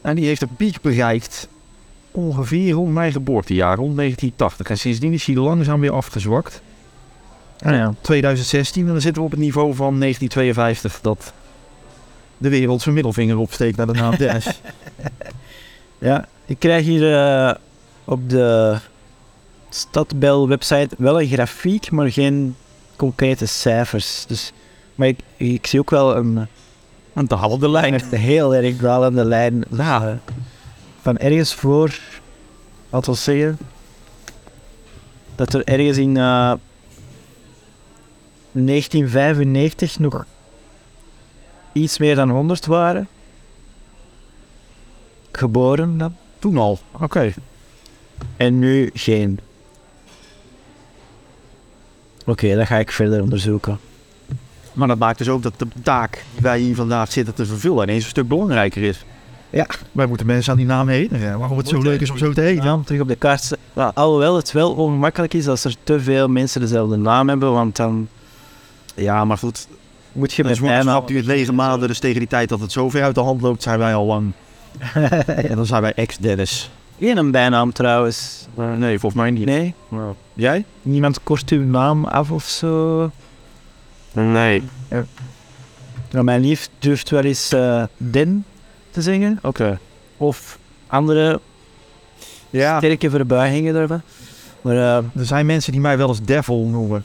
En die heeft een piek bereikt ongeveer rond mijn geboortejaar, rond 1980. En sindsdien is hij langzaam weer afgezwakt.
Ah ja.
2016 en dan zitten we op het niveau van 1952 dat de wereld zijn middelvinger opsteekt naar de naam Dennis.
ja. Ik krijg hier eh, op de Stadbel website wel een grafiek, maar geen concrete cijfers. Dus, maar ik, ik zie ook wel een,
Aan de halve lijn.
een heel erg dalende lijn. eh, Van ergens voor, laten we zeggen, dat er ergens in eh, 1995 nog iets meer dan 100 waren. Geboren dan.
Toen al. Oké.
En nu geen. Oké, dat ga ik verder onderzoeken.
Maar dat maakt dus ook dat de taak die wij hier vandaag zitten te vervullen ineens een stuk belangrijker is.
Wij moeten mensen aan die naam herinneren. Waarom het zo
Moeten.
leuk is om zo te heten.
Ja, om terug op de kaart te- Nou, alhoewel het wel ongemakkelijk is als er te veel mensen dezelfde naam hebben, want dan
Ja, maar goed.
moet je
Een
met mij
zwangerschap duurt negen maanden, dus tegen die tijd dat het zover uit de hand loopt, zijn wij al lang. en dan zijn wij ex-Dennis.
Geen een bijnaam trouwens.
Eh, Nee, volgens mij niet. Nou,
Nee?
Jij?
Niemand kort uw naam af of zo.
Nee.
Nou, mijn lief durft wel eens eh Den te zingen.
Oké.
Of andere
Ja.
sterke verbuigingen daarvan. Maar eh,
Er zijn mensen die mij wel eens devil noemen.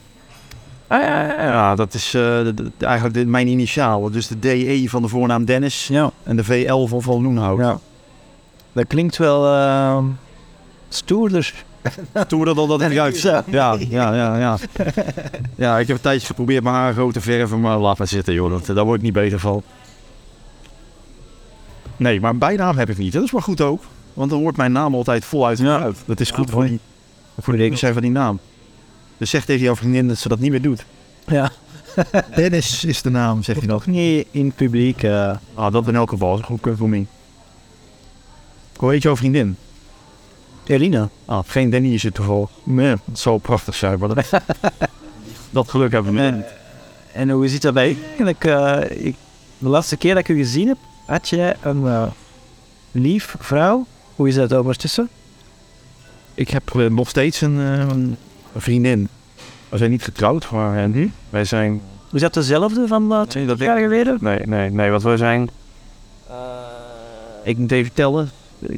Ah, ja, ja, ja, dat is eh, de- de- eigenlijk de- mijn initiaal. Dus de DE van de voornaam Dennis
ja,
en de VL van Van Loenhout.
ja. dat klinkt wel eh, stoerder.
Toen we dat al dat ruikt. Ja, ja, ja, ja. Ja, ik heb een tijdje geprobeerd mijn haar groot te verven, maar laat maar zitten joh. Dat, daar word ik niet beter van. Nee, maar een bijnaam heb ik niet. Dat is maar goed ook. Want dan wordt mijn naam altijd voluit gebruikt. Dat is goed voor die, voor de zijn van die naam. Dus zeg tegen jouw vriendin dat ze dat niet meer doet.
Ja,
Dennis is de naam, zeg je dan.
nog niet in het publiek. eh.
Ah, dat in elk geval. Dat is een goed voor mij. Hoe heet jouw vriendin?
Elina.
Ah, geen Danny is het toeval. Nee, het zou prachtig zijn, maar dat, dat geluk hebben we niet.
En, en hoe zit dat bij u eigenlijk? eh, ik, de laatste keer dat ik u gezien heb, had jij een eh, lief vrouw. Hoe is dat ondertussen?
Ik heb eh, nog steeds een, eh, een vriendin. We zijn niet getrouwd, maar eh, wij zijn...
Is dat dezelfde van eh, twee
dat
jaar geleden? Eh.
Nee, nee, nee, wat we zijn... ik moet even tellen.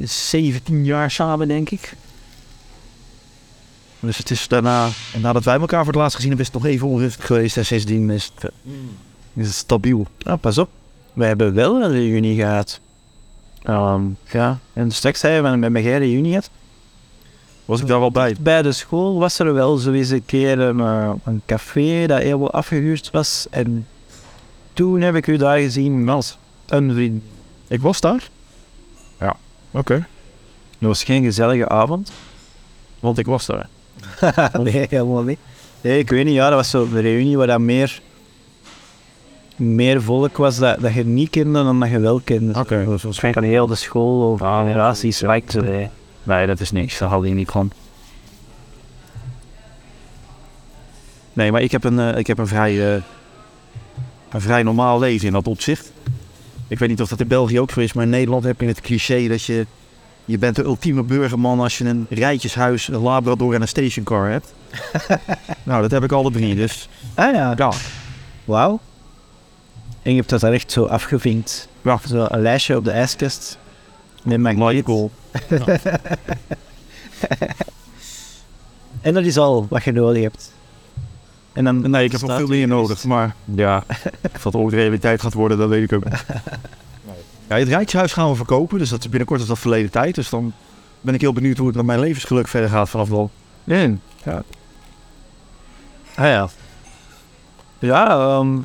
17 jaar samen, denk ik. Dus het is daarna...
En nadat wij elkaar voor het laatst gezien hebben, is het nog even onrustig geweest. En sindsdien is het, eh, is het stabiel.
Ah, pas op. We hebben wel een reunie gehad. Ehm, ja, en straks zei je van met mij geen reunie had.
Was ik daar wel bij?
Bij de school was er wel zo eens een keer een, eh, een café dat helemaal afgehuurd was. En toen heb ik u daar gezien als een vriend.
Ik was daar.
Ja.
Oké.
Het was geen gezellige avond.
Want ik was daar.
nee, helemaal niet. Nee, ik weet niet. Ja, dat was zo'n reunie waar dat meer, meer volk was dat, dat je niet kende dan dat je wel kende.
Oké.
Dus waarschijnlijk aan heel de school of
Ah,
generaties eh. lijkt erbij.
Nee, dat is niks. Dat hadden je niet gewoon. Nee, maar ik heb een, eh, ik heb een, vrij, eh, een vrij normaal leven in dat opzicht. Ik weet niet of dat in België ook zo is, maar in Nederland heb je het cliché dat je... Je bent de ultieme burgerman als je een rijtjeshuis, een labrador en een stationcar hebt. nou, dat heb ik alle drie, dus...
Ah ja,
Ja,
Wauw. En je hebt dat daar echt zo afgevinkt.
Ja.
Zo een lijstje op de ijskast. Met magneet.
cool.
En dat is al wat je nodig hebt. En dan
Nee, ik heb nog
staat
veel meer
hier
nodig,
dus-
maar... Ja, of dat ooit realiteit gaat worden, dat weet ik ook niet. Ja, het Rijkshuis gaan we verkopen, dus dat is binnenkort is dat verleden tijd. Dus dan ben ik heel benieuwd hoe het met mijn levensgeluk verder gaat vanaf dan.
Nee.
Ja.
Ah ja. Ja, ehm,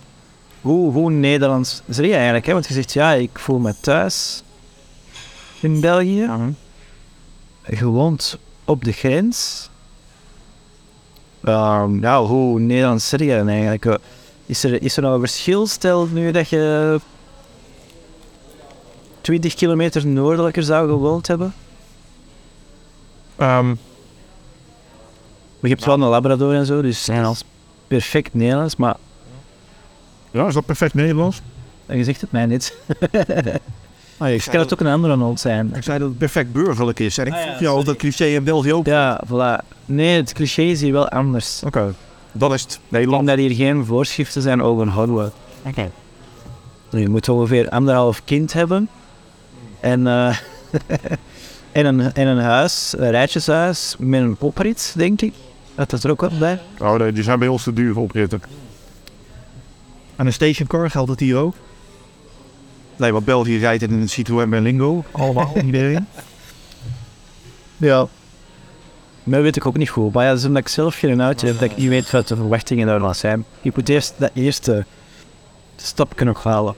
hoe, hoe Nederlands is er eigenlijk? Hè? Want je zegt, ja, ik voel me thuis in België. Je woont op de grens. Ehm, nou, hoe Nederlands zit je dan eigenlijk? Eh, Is er, is er nou een verschil, stel nu dat je 20 kilometer noordelijker zou gewoond hebben?
Ehm,
Maar je hebt wel een Labrador en zo, dus Nederlands. perfect Nederlands, maar
Ja, is dat perfect Nederlands?
je zegt het mij niet.
Ah, ik,
Dus kan het ook een andere hond zijn.
ik zei dat het perfect burgerlijk is. En ik
Ah, ja,
vroeg jou of dat cliché in België ook...
Ja, voilà. Nee, het cliché is hier wel anders.
Oké, dan is het Nederland.
Omdat hier geen voorschriften zijn over hardware.
Oké.
Je moet ongeveer anderhalf kind hebben. En, eh, en, een, en een huis, een rijtjeshuis met een poprit, denk ik. Dat is er ook wel bij.
Oh nee, die zijn bij ons te duur opritten.
Aan een stationcar geldt het hier ook.
Nee, want België rijdt in een Citroën Berlingo.
Allemaal, iedereen.
Ja. Maar weet ik ook niet goed. Maar ja, dat is omdat ik zelf geen auto heb, dat ik niet weet wat de verwachtingen daarvan zijn. Je moet eerst dat eerste stapje nog halen.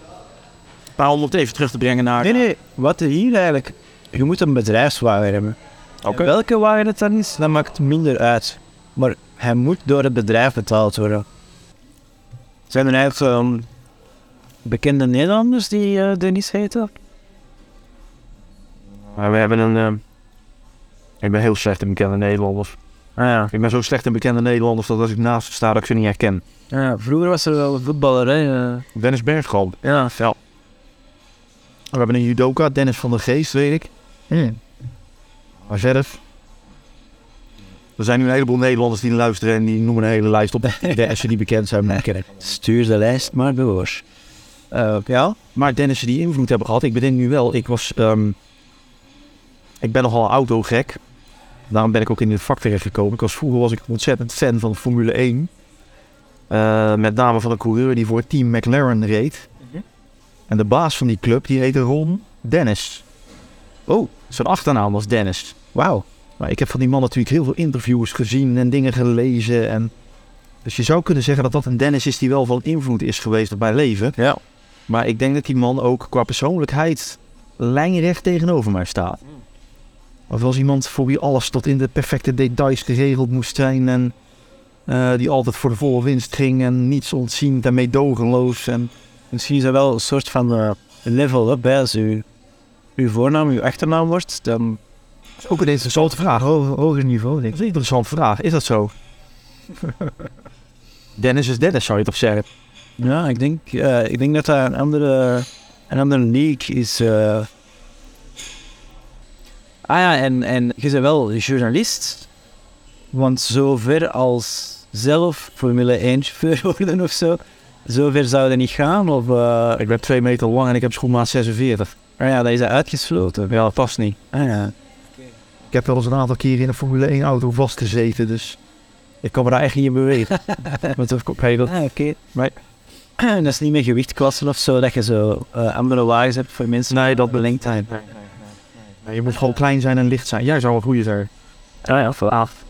Maar om het even terug te brengen naar...
Nee, nee, wat er hier eigenlijk... Je moet een bedrijfswagen hebben.
Oké.
En Welke wagen het dan is, dat maakt minder uit. Maar hij moet door het bedrijf betaald worden. Zijn er eigenlijk ehm, bekende Nederlanders die eh Dennis heten?
Maar we hebben een... eh, Ik ben heel slecht in bekende Nederlanders.
Ah ja.
Ik ben zo slecht in bekende Nederlanders dat als ik naast ze sta dat ik ze niet herken.
ja. Vroeger was er wel een voetballer, hè. eh.
Dennis Bergkamp.
ja.
Ja.
We hebben een judoka, Dennis van der Geest, weet ik. Maar verder...
Er zijn nu een heleboel Nederlanders die luisteren en die noemen een hele lijst op.
De S'en die bekend zijn, maar ken ik.
Stuur de lijst maar door. Eh, ja?
Maar Dennissen die invloed hebben gehad, ik bedenk nu wel, ik was... ehm,
Ik ben nogal autogek. Daarom ben ik ook in dit vak terechtgekomen. Ik was, vroeger was ik ontzettend fan van Formule 1. Eh, met name van een coureur die voor Team McLaren reed.
Mhm.
En de baas van die club die heette Ron Dennis.
Oh.
Zijn achternaam was Dennis.
Wauw.
Maar ik heb van die man natuurlijk heel veel interviews gezien en dingen gelezen. En... Dus je zou kunnen zeggen dat dat een Dennis is die wel van invloed is geweest op mijn leven.
Ja.
Maar ik denk dat die man ook qua persoonlijkheid lijnrecht tegenover mij staat.
Mm.
Of was iemand voor wie alles tot in de perfecte details geregeld moest zijn. En eh, die altijd voor de volle winst ging en niets ontziend en meedogenloos. En
Misschien is dat wel een soort van eh, level up. Hè. Als u, uw voornaam uw achternaam wordt, dan...
dat is ook een interessante vraag.
hoger niveau,
Dat is een interessante vraag. Is dat zo? Dennis is Dennis, zou je toch zeggen?
Ja, ik denk, eh, ik denk dat dat een andere, een andere league is. eh. Ah ja, en, en je bent wel journalist, want zover als zelf Formule 1 chauffeur worden of zo, zover zou dat niet gaan. Of, eh,
Ik ben 2 meter lang en ik heb schoenmaat 46.
ah ja, dat is dat uitgesloten.
Ja, dat past niet.
Ah ja.
Ik heb wel eens een aantal keer in een Formule 1 auto vastgezeten, dus ik kan me daar echt niet in bewegen. Met een kopedel.
Ah, oké.
Maar-
En dat is niet meer gewichtklassen of zo, dat je zo eh, andere wagens hebt voor mensen
Nee, dat
met belengdheid.
Je moet gewoon klein zijn en licht zijn. Jij zou wel goede zijn.
Ah ja, voor af.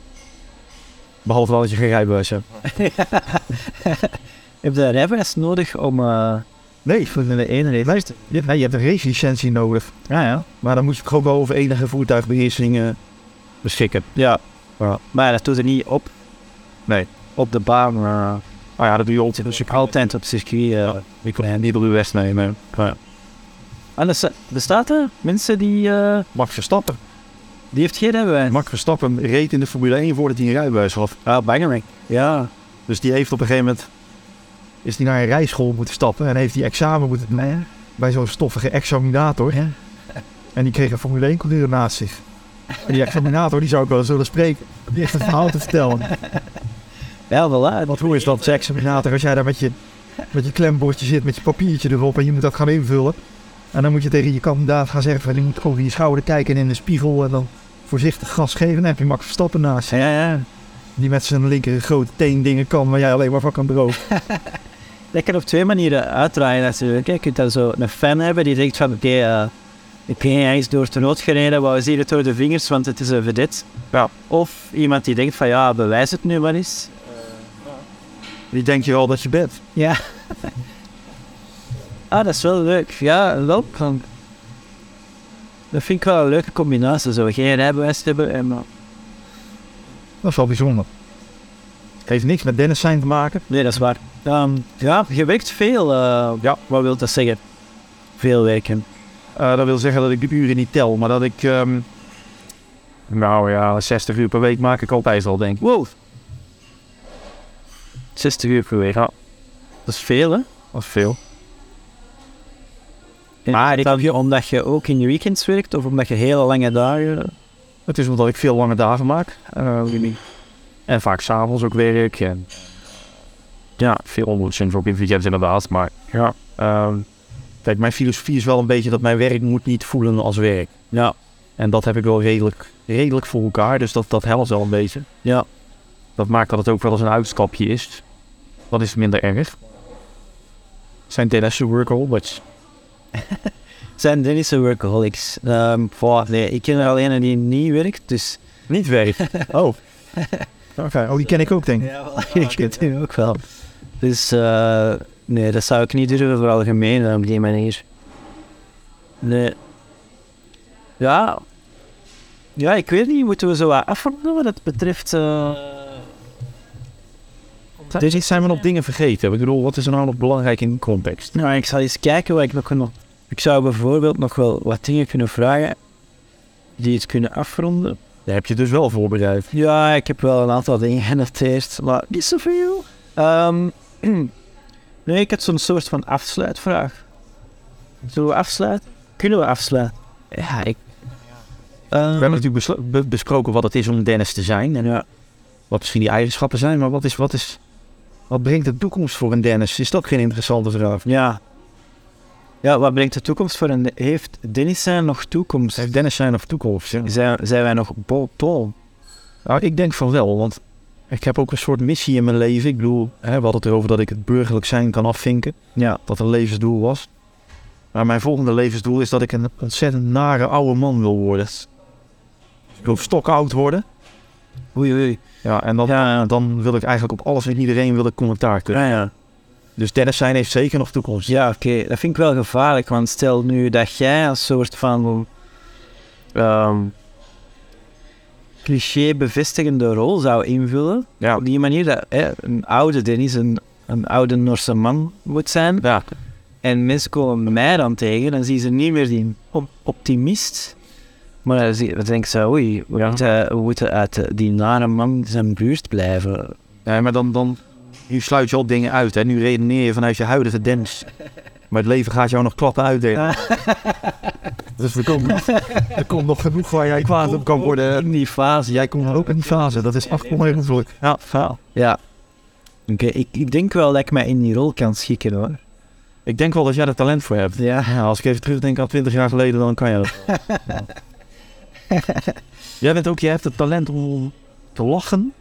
Behalve wel dat je geen rijbewijs hebt.
Heb je rijbewijs nodig om... eh,
nee, Formule 1 reed. Luister, je, nee, je hebt een racelicentie nodig.
Ah ja.
Maar dan moet je gewoon wel over enige voertuigbeheersing eh, beschikken.
Ja.
Ja.
Maar dat doet er niet op.
Nee.
Op de baan. eh, maar
Nou
Oh ja, dat doe je altijd.
dus ik altijd op circuit. eh.
Ik kan hem niet op de West nemen.
En er sta- bestaat er mensen die... eh,
Max Verstappen.
die heeft geen rijbewijs.
Max Verstappen reed in de Formule 1 voordat hij een rijbewijs had.
Ah, Bangerang. Ja.
Dus die heeft op een gegeven moment...
Is die naar een rijschool moeten stappen en heeft die examen moeten doen bij zo'n stoffige examinator. En die kreeg een Formule 1 coureur naast zich. En die examinator die zou ik wel eens willen spreken. Die echt een verhaal te vertellen.
Ja, voilà.
Want hoe is dat, seks examinator, als jij daar met je, met je klembordje zit, met je papiertje erop en je moet dat gaan invullen. En dan moet je tegen je kandidaat gaan zeggen van je moet over je schouder kijken en in de spiegel en dan voorzichtig gas geven. Dan heb je Max Verstappen naast je,
Ja, ja.
die met zijn linker grote teen dingen kan waar jij alleen maar van kan drogen.
Dat kan op twee manieren uitdraaien natuurlijk. hè. Je kunt dan zo een fan hebben die denkt van... Oké, eh, ik ben eens door de nood gereden, maar we zien het door de vingers, want het is een vedette.
Ja.
Of iemand die denkt van ja, bewijs het nu maar eens.
Die Eh, denk je wel dat je bent.
Ja. ah, dat is wel leuk. Ja, wel. kan- Dat vind ik wel een leuke combinatie. Zo geen rijbewijs te hebben en... eh,
Dat is wel bijzonder. Het heeft niks met Dennis zijn te maken.
Nee, dat is waar. Ehm, ja, je werkt veel. eh,
Ja.
Wat wil dat zeggen? Veel werken.
Eh, dat wil zeggen dat ik de uren niet tel, maar dat ik... ehm, nou ja, 60 uur per week maak ik altijd al, denk ik.
Wow. 60 uur per week.
Ja.
Dat is veel, hè?
Dat is veel.
En
Maar
is dat je, omdat je ook in de weekends werkt of omdat je hele lange dagen...
Het is omdat ik veel lange dagen maak. Eh, en vaak s'avonds ook werk. En, ja, veel onrustend ook in het weekend inderdaad. Maar ja, ehm, kijk, mijn filosofie is wel een beetje dat mijn werk moet niet voelen als werk.
Ja.
En dat heb ik wel redelijk, redelijk voor elkaar. Dus dat, dat helpt wel een beetje.
Ja.
Dat maakt dat het ook wel eens een uitstapje is. Dat is minder erg. Zijn Dennis' workaholics.
Zijn Dennis een workaholics? Ehm, voilà, nee, ik ken er alleen een die niet werkt, dus...
Niet werk.
Oh. Oké, oh die ken ik ook denk ik.
Ja, ik ken hem ook wel. Dus eh, nee, dat zou ik niet durven veralgemenen op die manier. Nee. Ja. Ja, ik weet niet. Moeten we zo wat afronden wat het betreft... eh,
Dit zijn we nog dingen vergeten. Ik bedoel, wat is er nou nog belangrijk in die context?
Nou, ik zal eens kijken wat ik nog kan... Ik zou bijvoorbeeld nog wel wat dingen kunnen vragen die het kunnen afronden.
Daar heb je dus wel voorbereid.
Ja, ik heb wel een aantal dingen genoteerd, maar niet zoveel. Ehm, nee, ik had zo'n soort van afsluitvraag. Zullen we afsluiten? Kunnen we afsluiten? Ja, ik... Ehm,
We hebben natuurlijk beslo- be- besproken wat het is om Dennis te zijn. En
Ja.
wat misschien die eigenschappen zijn. Maar wat, is, wat, is, wat brengt de toekomst voor een Dennis? Is dat geen interessante vraag?
Ja. Ja, wat brengt de toekomst voor een... Heeft Dennis zijn nog toekomst?
Heeft Dennis zijn of toekomst? ja?
Zijn, zijn wij nog bol bol?
Nou, ik denk van wel, want ik heb ook een soort missie in mijn leven. Ik bedoel, hè, we hadden het erover dat ik het burgerlijk zijn kan afvinken.
Ja.
Dat een levensdoel was. Maar mijn volgende levensdoel is dat ik een ontzettend nare oude man wil worden. Ik wil stokoud worden.
Oei, oei.
Ja, en dan,
Ja, ja.
dan wil ik eigenlijk op alles en iedereen wil ik commentaar kunnen.
Ja, ja.
Dus Dennis zijn heeft zeker nog toekomst.
Ja, oké. Dat vind ik wel gevaarlijk, want stel nu dat jij een soort van ehm, cliché-bevestigende rol zou invullen.
Ja.
Op die manier dat hè, een oude Dennis een, een oude Norse man moet zijn.
Ja.
En mensen komen mij dan tegen, dan zien ze niet meer die op- optimist. Maar dan, zie- dan denk ik zo, oei, we,
Ja.
moeten, we moeten uit eh, die nare man zijn buurt blijven.
Nee, maar dan, dan nu sluit je al dingen uit. Hè. Nu redeneer je vanuit je huidige Dennis. Maar het leven gaat jou nog klappen uitdelen.
Dus we komen, er komt nog genoeg waar jij kwaad op kan worden.
In die fase,
Jij komt ook in die fase, dat is afkondigend.
Ja, faal.
Ja. Oké, ik, ik denk wel dat ik mij in die rol kan schikken hoor.
Ik denk wel dat jij er talent voor hebt.
Ja.
Ja, als ik even terugdenk aan 20 jaar geleden, dan kan je dat. Ja. Jij bent ook, jij hebt het talent om te lachen.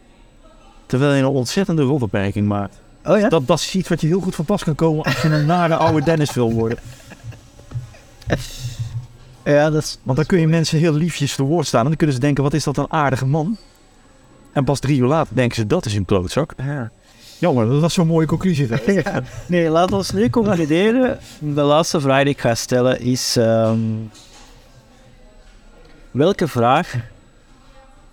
Terwijl je een ontzettende rotopmerking maakt.
Oh ja?
Dat, dat is iets wat je heel goed van pas kan komen als je een nare oude Dennis wil worden.
Ja, dat is...
Want dan kun je mensen heel liefjes te woord staan. En dan kunnen ze denken, wat is dat een aardige man. En pas drie uur later denken ze, dat is een klootzak.
Jammer, dat was zo'n mooie conclusie. hè?
Nee, laat ons nu concluderen. De laatste vraag die ik ga stellen is... ehm, welke vraag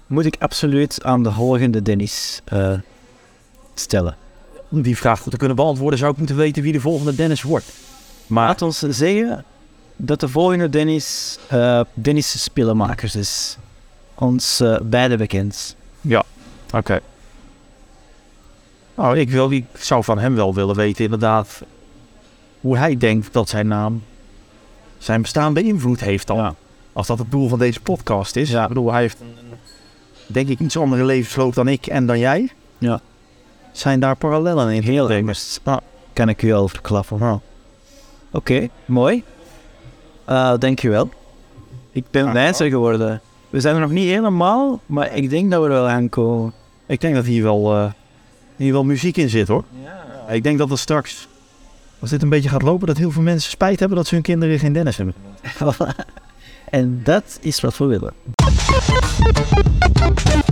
moet ik absoluut aan de volgende Dennis eh, stellen?
Om die vraag goed te kunnen beantwoorden, Oh, zou ik moeten weten wie de volgende Dennis wordt. Maar
Laat ons zeggen dat de volgende Dennis eh, Dennis Spillemakers is. Ons eh, beide bekend.
Oké. Nou, ik, wil, ik zou van hem wel willen weten inderdaad hoe hij denkt dat zijn naam zijn bestaan beïnvloed heeft dan.
Ja.
Als dat het doel van deze podcast is.
Ja.
Ik bedoel, hij heeft een- een- denk ik iets andere levensloop dan ik en dan jij.
Ja.
Zijn daar parallellen in?
Heel
Denk ik.
anders.
Ja.
Kan ik u al verklappen.
Ja.
Oké, mooi. Eh, dankjewel. Ik ben
Graag
wijzer geworden. We zijn er nog niet helemaal, maar ik denk dat we er wel aankomen.
Ik denk dat hier wel, eh, hier wel muziek in zit hoor. Ik denk dat er straks, als dit een beetje gaat lopen, dat heel veel mensen spijt hebben dat ze hun kinderen geen Dennis hebben.
en dat is wat we willen.